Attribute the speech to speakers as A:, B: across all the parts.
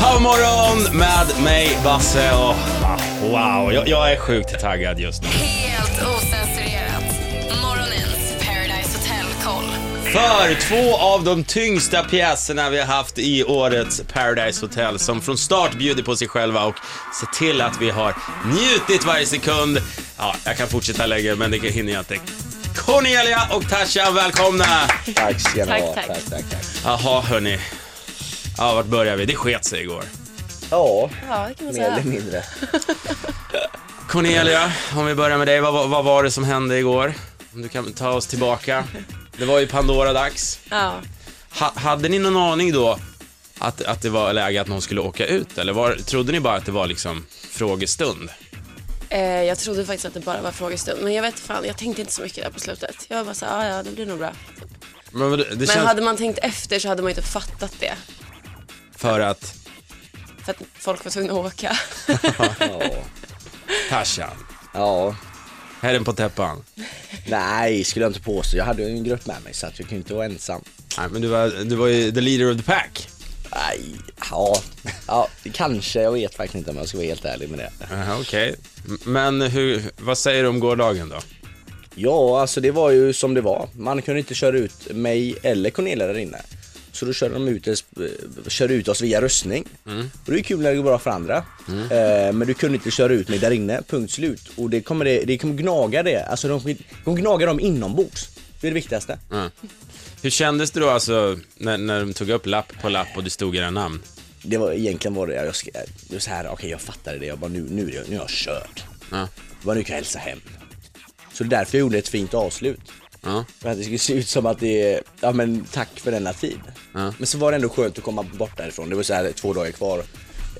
A: Bra morgon med mig, Basse. Och, ah, wow, jag, jag är sjukt taggad just nu.
B: Helt osensurerat. Morgonens Paradise Hotel koll.
A: För två av de tyngsta pjäserna vi har haft i årets Paradise Hotel som från start bjuder på sig själva och ser till att vi har njutit varje sekund. Ja, jag kan fortsätta längre, men det hinner jag inte. Cornelia och Tasha, välkomna!
C: Tack ska ni ha.
D: Tack, tack.
C: tack, tack, tack.
A: Jaha, hörni. Ja, vart börjar vi? Det sket sig igår.
C: Ja,
D: Ja, det kan man
C: mer eller
D: säga.
C: mindre.
A: Cornelia, om vi börjar med dig, vad, vad, vad var det som hände igår? Om du kan ta oss tillbaka. Det var ju Pandora-dags.
D: Ja.
A: Ha, hade ni någon aning då att, att det var läge att någon skulle åka ut, eller var, trodde ni bara att det var liksom frågestund?
D: Eh, jag trodde faktiskt att det bara var frågestund, men jag vet fan, jag tänkte inte så mycket där på slutet. Jag var bara så här, "Ah, ja, ja, det blir nog bra.
A: Men vad- det
D: Men
A: känns
D: hade man tänkt efter så hade man ju inte fattat det,
A: för att
D: för att folk var tvungna att åka.
C: Ja.
A: Tarzan,
C: ja.
A: herren på täppan.
C: Nej, skulle jag inte påstå. Jag hade ju en grupp med mig så att jag kunde inte vara ensam.
A: Nej, men du var, du var ju the leader of the pack.
C: Nej, ja. ja, kanske. Jag vet faktiskt inte om jag ska vara helt ärlig med det.
A: Aha, Okej, M- men hur, vad säger du om gårdagen då?
C: Ja, alltså det var ju som det var. Man kunde inte köra ut mig eller Cornelia där inne. Så då körde de ut, oss- eh, körde ut oss via röstning. Och det är ju kul när det går bra för andra. Eh, men du kunde inte köra ut mig där inne, punkt slut. Och det kommer, det, det kommer gnaga det. Alltså de kommer- de kommer gnaga dem inombords. Det är det viktigaste.
A: Hur kändes det då alltså när, när de tog upp lapp på lapp och det stod era namn?
C: Det var egentligen var det, jag, sk- det var så här, okej jag fattade det, jag bara nu, nu, är jag- nu är jag körd.
A: Ja.
C: Jag bara nu kan jag hälsa hem. Så det är därför jag gjorde ett fint avslut.
A: Ja.
C: För att det skulle se ut som att det är, ja men tack för denna tid.
A: Ja.
C: Men så var det ändå skönt att komma bort därifrån, det var så här två dagar kvar.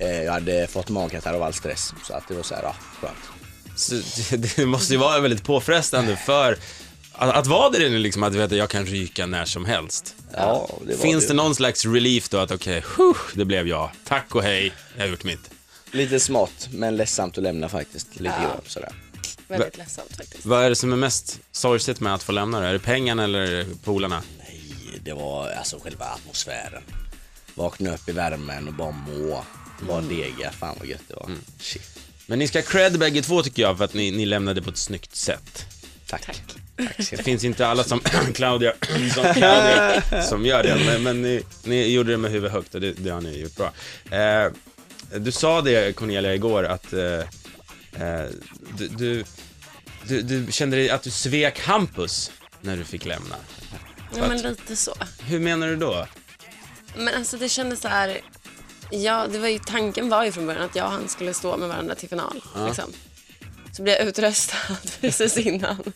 C: Eh, Jag hade fått magkatarr av all stress, så att det var så här, ja skönt.
A: Så det, det måste ju vara väldigt påfrestande för att, att vara där inne liksom, att veta jag kan ryka när som helst.
C: Ja, det var
A: Finns
C: det.
A: det någon slags relief då att okej, okay, det blev jag. Tack och hej, jag har gjort mitt.
C: Lite smått, men ledsamt att lämna faktiskt. Lite grann sådär.
D: Väldigt ledsamt faktiskt.
A: Vad är det som är mest sorgset med att få lämna det? Är det pengarna eller polarna?
C: Nej, det var alltså själva atmosfären. Vakna upp i värmen och bara må. Bara dega, fan vad gött det var. Shit.
A: Men ni ska ha cred bägge två tycker jag för att ni, ni lämnade på ett snyggt sätt.
C: Tack.
D: Tack.
C: Tack
A: Det
C: ska ni ha.
A: finns inte alla som Claudia, som, Claudia som gör det, men, men ni, ni gjorde det med huvudet högt och det, det har ni gjort bra. Eh, du sa det Cornelia igår att eh, eh, du, du, du, du kände dig att du svek Hampus när du fick lämna.
D: Ja, men lite så.
A: Hur menar du då?
D: Men alltså det kändes så här, ja, det var ju, tanken var ju från början att jag och han skulle stå med varandra till final. Liksom. Så blev jag utröstad precis innan.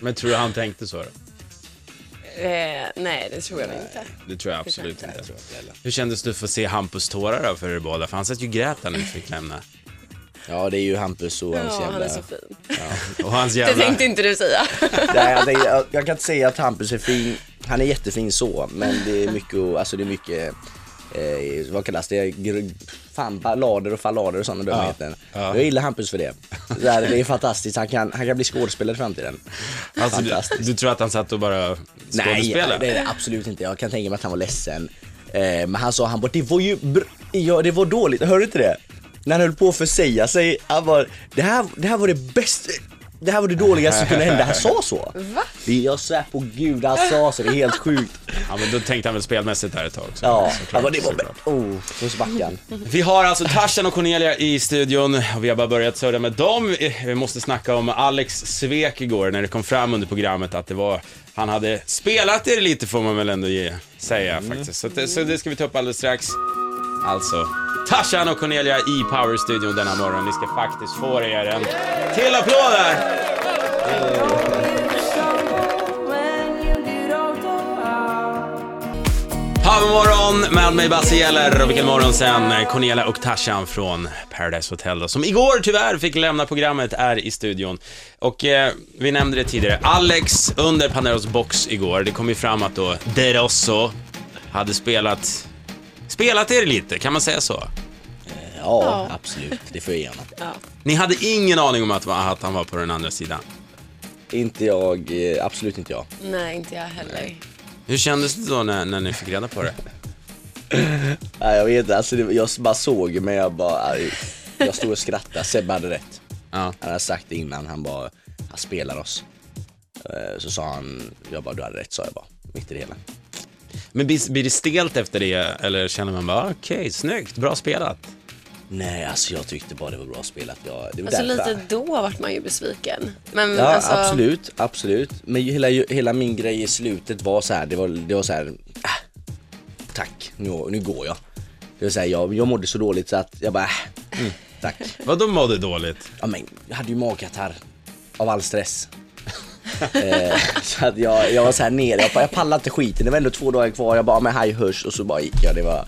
A: Men tror du han tänkte så då?
D: Eh, nej, det tror jag nog inte.
A: Det tror jag absolut
D: tror
A: inte.
C: Jag tror att det gäller.
A: Hur kändes det för att se Hampus tårar då för er båda? För han satt ju och grät när ni fick lämna.
C: Ja, det är ju Hampus och hans
D: Ja, han
C: jävla...
D: är så fin.
A: Och hans
D: Det
A: jävla...
D: tänkte inte du säga.
C: Nej, jag, tänkte, jag, jag kan inte säga att Hampus är fin. Han är jättefin så, men det är mycket, och- alltså det är mycket, eh, vad kallas det, Gr- fan ballader och fallader och sådana dumheter. Jag gillar Hampus för det. Det är, det är fantastiskt, han kan, han kan bli skådespelare i framtiden.
A: Alltså, du,
C: Fantastiskt.
A: du tror att han satt och bara
C: Nej,
A: skådespelade?
C: det är det absolut inte. Jag kan tänka mig att han var ledsen. Eh, men han sa, han bara, det var ju br- ja, det var dåligt, hör du inte det? När han höll på att försäga sig, han bara, det här, det här var det bästa, det här var det dåligaste som kunde hända, han sa så. Va? Jag svär på gud, han sa så, det är helt sjukt.
A: Ja, men då tänkte han väl spelmässigt där ett tag. Så.
C: Ja,
A: såklart,
C: han bara, det var,
A: såklart.
C: oh, så backade han.
A: Vi har alltså Tarzan och Cornelia i studion och vi har bara börjat surra med dem. Vi måste snacka om Alex svek igår när det kom fram under programmet att det var, han hade spelat er lite får man väl ändå ge, säga faktiskt. Så, det- så det ska vi ta upp alldeles strax. Alltså, Tarzan och Cornelia i Power-studion denna morgon. Ni ska faktiskt få er en till applåd där! Powermorgon med mig Basse Gäller och vilken morgon sen Cornelia och Tarzan från Paradise Hotel då, som igår tyvärr fick lämna programmet är i studion. Och eh, vi nämnde det tidigare, Alex under Pandoras box igår, det kom ju fram att då Derosso hade spelat, spelat er lite, kan man säga så?
C: Ja, absolut, det får jag ge honom.
D: Ja.
A: Ni hade ingen aning om att, att han var på den andra sidan.
C: Inte jag, eh, absolut inte jag.
D: Nej, inte jag heller.
A: Hur kändes det då när, när ni fick reda på det?
C: Nej, jag vet inte, alltså, det, jag bara såg men jag bara, aj, jag stod och skrattade. Sebbe hade rätt.
A: Ja.
C: Han hade sagt det innan, han bara, han spelar oss. Eh, Så sa han, jag bara, du hade rätt sa jag bara, mitt i det hela.
A: Men blir, blir det stelt efter det eller känner man bara okej, snyggt, bra spelat?
C: Nej, alltså jag tyckte bara det var bra spelat. Jag, det var
D: Alltså
C: därför.
D: lite då vart man ju besviken. Men
C: Ja,
D: alltså,
C: absolut, absolut. Men ju- hela, ju- hela min grej i slutet var så här, det var, det var så här, äh, tack, nu, nu går jag. Det var så här, jag, jag mådde så dåligt så att jag bara, äh, tack.
A: Vadå mådde dåligt?
C: Ja men, jag hade ju magkatarr av all stress. eh, så att jag, jag var så här nere, jag, bara, jag pallade inte skiten, det var ändå två dagar kvar, jag bara, men hej hörs och så bara gick jag. Det var,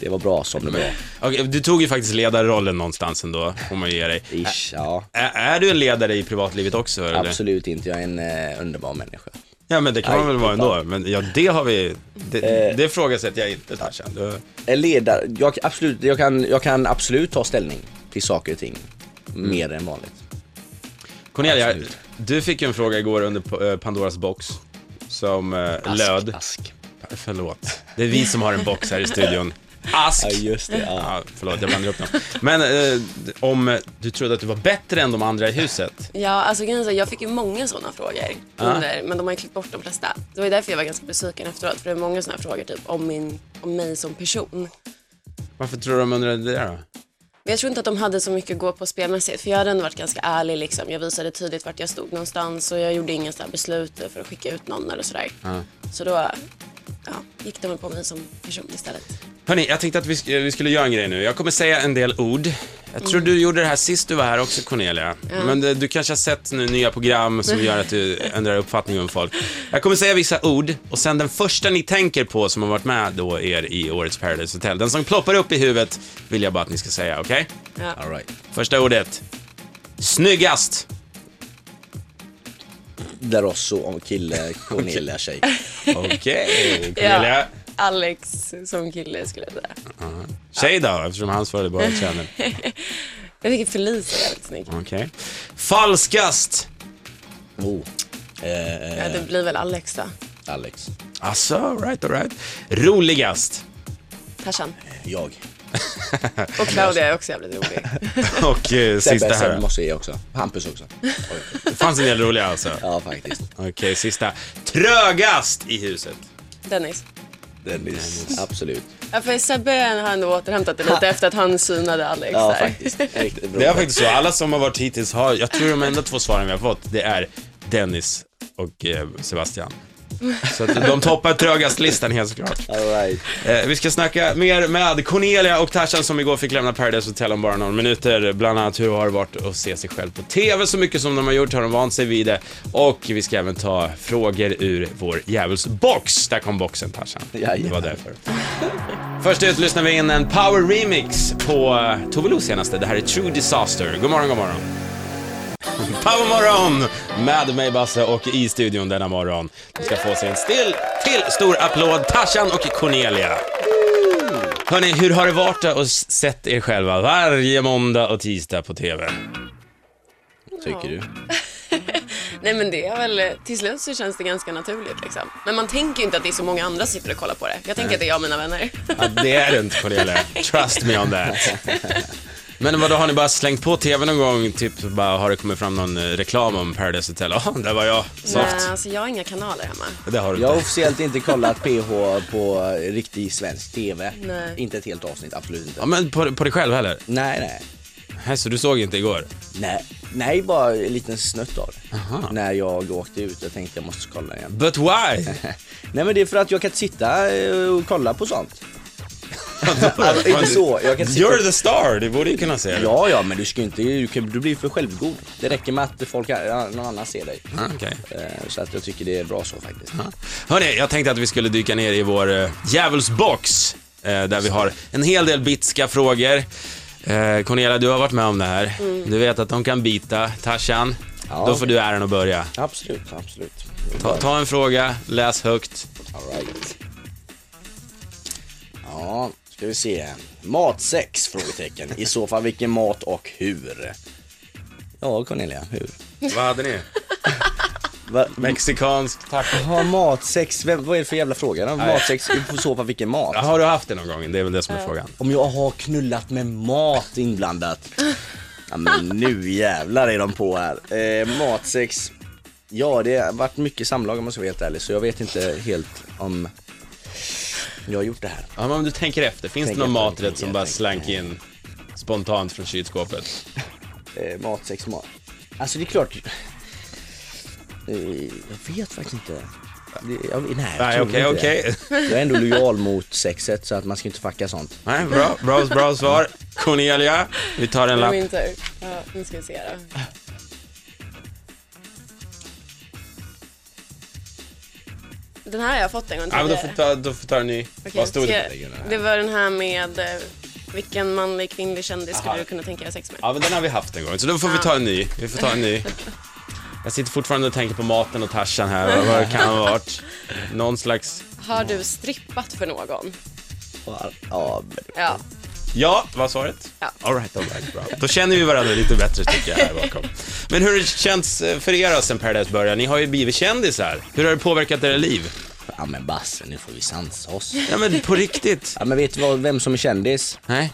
C: det var bra som det var.
A: Okej, du tog ju faktiskt ledarrollen någonstans ändå, får man ge dig. Ä-
C: Ish, ja.
A: Är, du en ledare i privatlivet också? Eller?
C: Absolut inte, jag är en eh, underbar människa.
A: Ja, men det kan man
C: Nej, Eh.
A: väl vara ändå.
C: fan.
A: Men ja, det har vi... Det, det ifrågasätter jag inte, Tarzan. Du-
C: En ledare, jag, kan absolut, jag, kan, jag kan absolut ta ställning till saker och ting. Mer än vanligt.
A: Cornelia,
C: Absolut.
A: du fick ju en fråga igår under P- eh, Pandoras box som eh,
C: Ask,
A: löd...
C: Ask.
A: Förlåt. Det är vi som har en box här i studion. Ask!
C: Ja just det, Ah, ja.
A: Ja, förlåt, jag blandade upp dem. Men eh, om eh, du trodde att du var bättre än de andra i huset.
D: ja, alltså grejen är så här, jag fick ju många sådana frågor under, men de har ju klippt bort de flesta. Det var ju därför jag var ganska besviken efteråt, för det var många sådana frågor typ om, min, om mig som person.
A: Varför tror du de undrade det då?
D: Men jag tror inte att de hade så mycket att gå på spelmässigt för jag hade ändå varit ganska ärlig liksom. Jag visade tydligt vart jag stod någonstans och jag gjorde inga så här beslut för att skicka ut någon eller sådär. Så då ja, gick de väl på mig som person istället.
A: Hörni, jag tänkte att vi, sk- eh, vi skulle göra en grej nu. Jag kommer säga en del ord. Jag tror du gjorde det här sist du var här också, Cornelia. Men eh, du kanske har sett nu nya program som gör att du ändrar uppfattning om folk. Jag kommer säga vissa ord och sen den första ni tänker på som har varit med då er i årets Paradise Hotel, den som ploppar upp i huvudet vill jag bara att ni ska säga, okej?
D: Ja.
C: All right.
A: Första ordet. Snyggast.
C: Där också om kille, Cornelia, tjej.
A: Okej, Cornelia.
D: Alex som kille skulle jag säga.
A: Tjej då, eftersom hans följde bara känner.
D: Jag tycker Felicia är jävligt snygg.
A: Okej. Falskast.
C: Oh. Eh,
D: Ja, det blir väl Alex då.
C: Alex.
A: Alltså, all right, all right. Roligast.
D: Tarzan.
C: Jag.
D: Och Claudia är också jävligt rolig.
A: Och eh, sista
C: Sebbe, Sebbe
A: här.
C: måste jag också. Hampus också. Oj.
A: Det fanns en del roliga alltså.
C: Ja faktiskt.
A: Okej, sista. Trögast i huset.
D: Dennis.
C: Dennis. Absolut.
D: Ja, för Sebbe har ändå återhämtat det lite efter att han synade Alex
C: Ja
D: där.
C: faktiskt. Riktigt bra.
A: Det är faktiskt så. Alla som har varit hittills har, jag tror de enda två svaren vi har fått, det är Dennis och eh, Sebastian. Så att de toppar trögast-listan helt klart.
C: All right.
A: Eh, vi ska snacka mer med Cornelia och Tarzan som igår fick lämna Paradise Hotel om bara några minuter. Bland annat hur har det varit att se sig själv på TV så mycket som de har gjort, har de vant sig vid det? Och vi ska även ta frågor ur vår djävulsbox. Där kom boxen Tarzan. Det var
C: Jajamän.
A: därför. Först ut lyssnar vi in en power remix på eh, Tove Los senaste. Det här är True Disaster. God morgon, god morgon. Power morgon med mig Basse och i studion denna morgon. Du ska få sig en still till stor applåd, Tarzan och Cornelia. Hörni, hur har det varit att s- sett er själva varje måndag och tisdag på TV?
C: Tycker du?
D: Nej men det är väl, till slut så känns det ganska naturligt liksom. Men man tänker ju inte att det är så många andra som sitter och kollar på det. Jag tänker att det är jag och mina vänner.
A: Ja, det är det inte Cornelia. Trust me on that. Men vadå, har ni bara slängt på TV någon gång? Typ bara, har det kommit fram någon eh, reklam om Paradise Hotel? Ja, där var jag. Soft.
D: Nej, alltså jag har inga kanaler hemma.
A: Det har du
C: Jag har
A: inte.
C: officiellt inte kollat PH på riktig svensk TV.
D: Nej.
C: Inte ett helt avsnitt, absolut inte.
A: Ja, men på, på dig själv heller?
C: Nej, nej.
A: Nej, Så du såg inte igår?
C: Nej, nej bara en liten snutt av det. När jag åkte ut, jag tänkte jag måste kolla igen.
A: But why?
C: Nej men det är för att jag kan inte sitta eh, och kolla på sånt. alltså, inte så, jag kan sitta-
A: You're the star, du borde ju kunna se det.
C: Ja, ja, men du ska ju inte, du, kan, du blir för självgod. Det räcker med att folk, ja, någon annan ser dig.
A: Ah, okej.
C: Eh, Så att jag tycker det är bra så faktiskt.
A: Hörni, jag tänkte att vi skulle dyka ner i vår eh, djävulsbox, eh, där vi har en hel del bitska frågor. Eh, Cornelia, du har varit med om det här. Du vet att de kan bita. Tarzan,
C: Mm. Ja.
A: då får du äran att börja.
C: Absolut, absolut.
A: Ta, ta en fråga, läs högt.
C: All right. Ja, ska vi se. Matsex? Frågetecken. I så fall vilken mat och hur? Ja, Cornelia, hur?
A: Vad hade ni?
C: Va?
A: Mexikansk taco.
C: Ha matsex, vem, vad är det för jävla fråga? då? Matsex, i så fall vilken mat?
A: Har du haft det någon gång? Det är väl det som är frågan.
C: Om jag har knullat med mat inblandat. Ja men nu jävlar är de på här. Eh, matsex. Ja det har varit mycket samlag om man ska vara helt ärlig så jag vet inte helt om jag har gjort det här.
A: Ja, men om du tänker efter, finns
C: Tänker
A: det någon
C: efter,
A: maträtt
C: tänker
A: som
C: jag,
A: bara
C: tänker
A: slank in spontant från kylskåpet?
C: Eh, matsex, mat. Alltså det är klart. Eh, jag vet faktiskt inte. Det, jag, nej, jag
A: Nej, okej,
C: tror inte det.
A: okej.
C: Jag är ändå lojal mot sexet så att man ska inte fucka sånt.
A: Nej, bra, bra, bra svar. Cornelia, vi tar en lapp.
D: Winter. Ja, nu ska vi se då. Den här har jag fått en gång
A: Ja, men då får du ta, då får du ta en ny.
D: Okej,
A: Vad stod det på
D: ska-
A: den?
D: Det var den här med eh, vilken manlig kvinnlig kändis skulle
A: Aha.
D: du kunna tänka dig ha sex med?
A: Ja, men den har vi haft en gång, så då får vi ta en ny. Vi får ta en ny. Jag sitter fortfarande och tänker på maten och Tarzan här. Vad- Vad kan det ha varit? Någon slags...
D: Har du strippat för någon?
C: Ja,
D: Ja.
A: Ja, vad var svaret?
D: Ja.
A: All right, all right, bra. Då känner vi varandra lite bättre tycker jag här bakom. Men hur har det känts eh, för er då sen Paradise började? Ni har ju blivit kändisar. Hur har det påverkat era liv?
C: ja men Basse nu får vi sansa oss.
A: Ja, men på riktigt.
C: Ja, men vet du vad, vem som är kändis?
A: Nej.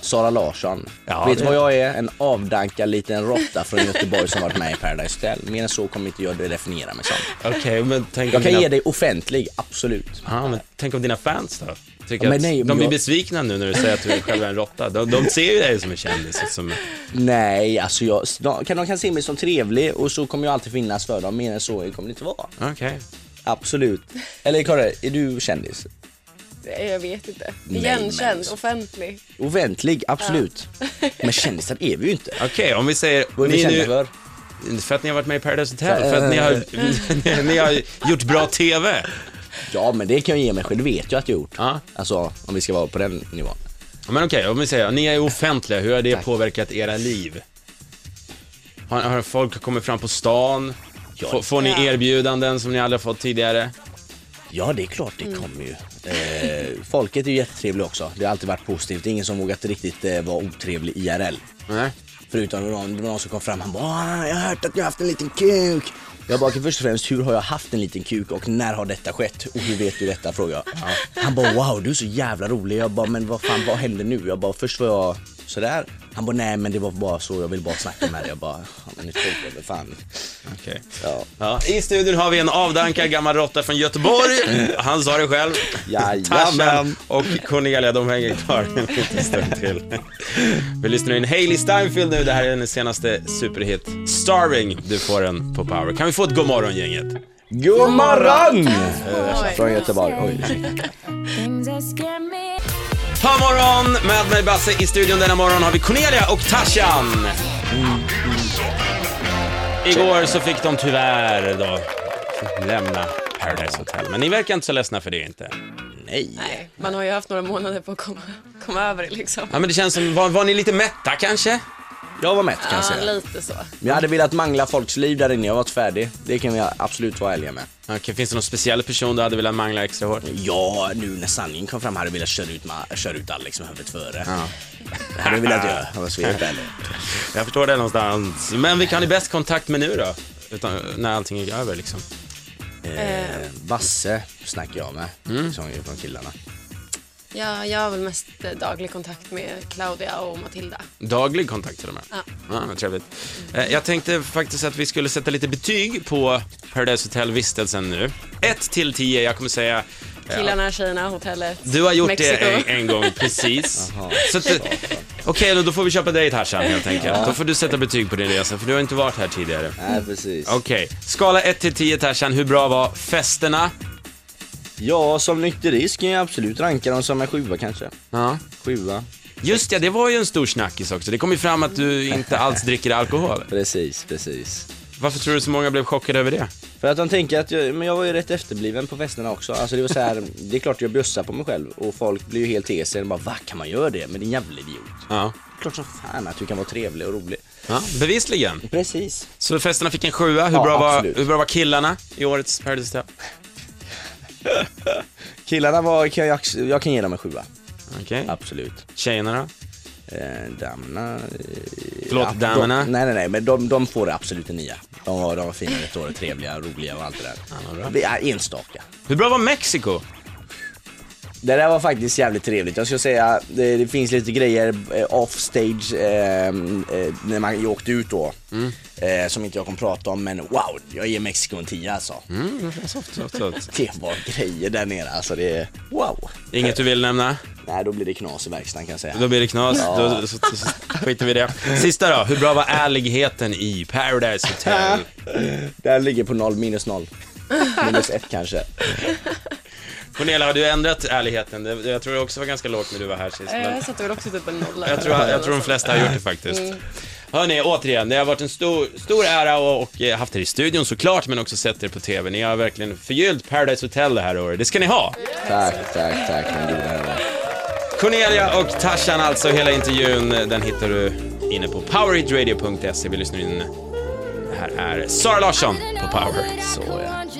C: Sara Larsson.
A: Ja,
C: vet
A: det-
C: du vad jag är? En avdankad liten råtta från Göteborg som varit med i Paradise Hotel. Mer än så kommer inte jag att definiera mig som.
A: Okej, men tänk om
C: Jag kan
A: dina...
C: ge dig offentlig, absolut.
A: Ja, men tänk om dina fans då? Tycker
C: Ja, men
A: att
C: nej,
A: de
C: men
A: blir
C: jag-
A: besvikna nu när du säger att du själv är en råtta. De, de ser ju dig som en kändis. och Som...
C: Nej, alltså jag, de kan, de kan se mig som trevlig och så kommer jag alltid finnas för dem. Mer än så kommer det inte vara.
A: Okej.
C: Absolut. Eller Klara, är du kändis?
D: Det- eh, Jag vet inte.
C: Nej,
D: Igenkänd,
C: men-
D: offentlig.
C: Offentlig, absolut. Men kändisar är vi ju inte.
A: Okej, om vi säger...
C: Vad är vi
A: ni
C: kända Eh.
A: nu-
C: för?
A: För att ni har varit med i Paradise Hotel, för att ni har, ni har gjort bra TV.
C: Ja, men det kan jag ge mig själv. Det vet jag att jag gjort.
A: Ja.
C: Alltså, om vi ska vara på den nivån.
A: Men okej, om vi säger, ni är offentliga, hur har det påverkat era liv? Har, har folk kommit fram på stan? Får, får ni
D: Ja.
A: erbjudanden som ni aldrig har fått tidigare?
C: Ja, det är klart det kommer ju. Eh, folket är ju jättetrevligt också. Det har alltid varit positivt. Det är ingen som vågat riktigt eh, vara otrevlig IRL.
A: Nej.
C: Förutom någon, någon som kom fram han bara "Ah, “Jag har hört att du har haft en liten kuk”. Jag bara “Okej, “Först och främst, hur har jag haft en liten kuk och när har detta skett? Och hur vet du detta?” frågade jag. Han bara “Wow, du är så jävla rolig”. Jag bara “Men vad fan, vad hände nu?” Jag bara “Först var jag sådär”. Han bara “Nej, men det var bara så. Jag vill bara snacka med dig”. Jag bara "Ja, “Men nu tror jag väl fan”.
A: Okej.
C: Ja.
A: Ja, I studion har vi en avdankad gammal råtta från Göteborg. Han sa det själv.
C: Mm. Jajamän.
A: Tarzan och Cornelia, de hänger kvar en liten stund till. Vi lyssnar in Hailey Steinfeld nu. Det här är hennes senaste superhit, Starving. Du får den på Power. Kan vi få ett god morgon gänget?
C: God morgon!
D: Oj.
C: Från Göteborg. Oj, ursäkta.
E: Things that scare me.
A: Ta morgon! Med mig Basse i studion denna morgon har vi Cornelia och Tarzan. Igår så fick de tyvärr då lämna Paradise Hotel, men ni verkar inte så ledsna för det inte.
C: Nej.
D: Nej, man har ju haft några månader på att komma, komma över det liksom.
A: Ja men det känns som, var, var ni lite mätta kanske?
C: Jag var mätt kan jag
D: Ja,
C: säga.
D: lite så.
C: Men jag hade velat mangla folks liv där inne. Jag var färdig. Det kan vi absolut vara ärliga med.
A: Okej, finns det någon speciell person du hade velat mangla extra hårt?
C: Ja, nu när sanningen kom fram hade jag velat köra ut, ma- köra ut Alex med huvudet före. Det hade jag velat göra om jag ska vara helt ärlig.
A: Jag förstår det någonstans. Men vilka har ni bäst kontakt med nu då? Utan, när allting är över liksom.
C: Eh, Basse snackar jag med, som är från killarna.
D: Ja, jag har väl mest eh, daglig kontakt med Claudia och Matilda.
A: Daglig kontakt till och med.
D: Ja.
A: Ja, vad trevligt. Eh, Jag tänkte faktiskt att vi skulle sätta lite betyg på Paradise Hotel-vistelsen nu. 1 till 10, jag kommer säga... eh,
D: Killarna, tjejerna, hotellet,
A: Du har gjort
D: Mexiko.
A: det en, en gång, precis.
C: Jaha.
A: Så att, eh, Okej, då- då får vi köpa dig Tarzan helt enkelt. Då får du sätta betyg på din resa, för du har inte varit här tidigare.
C: Nej, precis.
A: Okej, skala 1 till 10 Tarzan, hur bra var festerna?
C: Ja, som nykterist kan jag absolut ranka dem som en sjua kanske.
A: Ja.
C: Sjua.
A: Just ja, det var ju en stor snackis också. Det kom ju fram att du inte alls dricker alkohol.
C: Precis, precis.
A: Varför tror du så många blev chockade över det?
C: För att de tänker att jag, men jag var ju rätt efterbliven på festerna också. Alltså det var så här, det är klart jag bjussar på mig själv och folk blir ju helt tesen och bara va kan man göra det? Men din jävla idiot.
A: Ja.
C: Klart som fan att du kan vara trevlig och rolig.
A: ja bevisligen.
C: Precis.
A: Så festerna fick en sjua. Hur,
C: Ja,
A: bra var,
C: absolut.
A: hur bra var killarna i årets Paradise Hotel?
C: Killarna var, kan jag, jag kan ge dem en sjua.
A: Okej.
C: Absolut.
A: Tjejerna då?
C: Eh, damerna, eh,
A: Låt
C: Ja,
A: damerna.
C: de- Nej, nej, nej, men de, de får absolut en nia. De var, de var fina ett år, trevliga, roliga och allt det där. Vi är enstaka.
A: Hur bra var Mexiko?
C: Det där var faktiskt jävligt trevligt. Jag skulle säga, det, det finns lite grejer eh, offstage eh, eh, när man ju åkte ut då. Eh, som inte jag kommer prata om, men wow, jag ger Mexiko en 10 alltså. Det var grejer där nere alltså, det wow.
A: Inget du vill nämna?
C: Nej, då blir det knas i verkstaden kan jag säga.
A: Då blir det knas.
C: Ja.
A: Då, så, så, så skiter vi i det. Sista då. Hur bra var ärligheten i Paradise Hotel?
C: Där ligger på noll, minus noll. Minus ett kanske.
A: Cornelia, har du ändrat ärligheten? Det- Jag tror det också var ganska lågt när du var här sist. men-
D: Jag satte väl också typ en nolla.
A: Jag tror, jag tror de flesta har gjort det faktiskt. Hörni, återigen, det har varit en stor, stor ära och, och eh, haft er i studion såklart, men också sett er på TV. Ni har verkligen förgyllt Paradise Hotel det här året. Det ska ni ha!
C: Tack, tack, tack min goda herre.
A: Cornelia och Tarzan alltså, hela intervjun, eh, den hittar du inne på E. powerhitradio.se. Vi lyssnar in. Det här är Sara Larsson på Power. eh.
C: Så ja.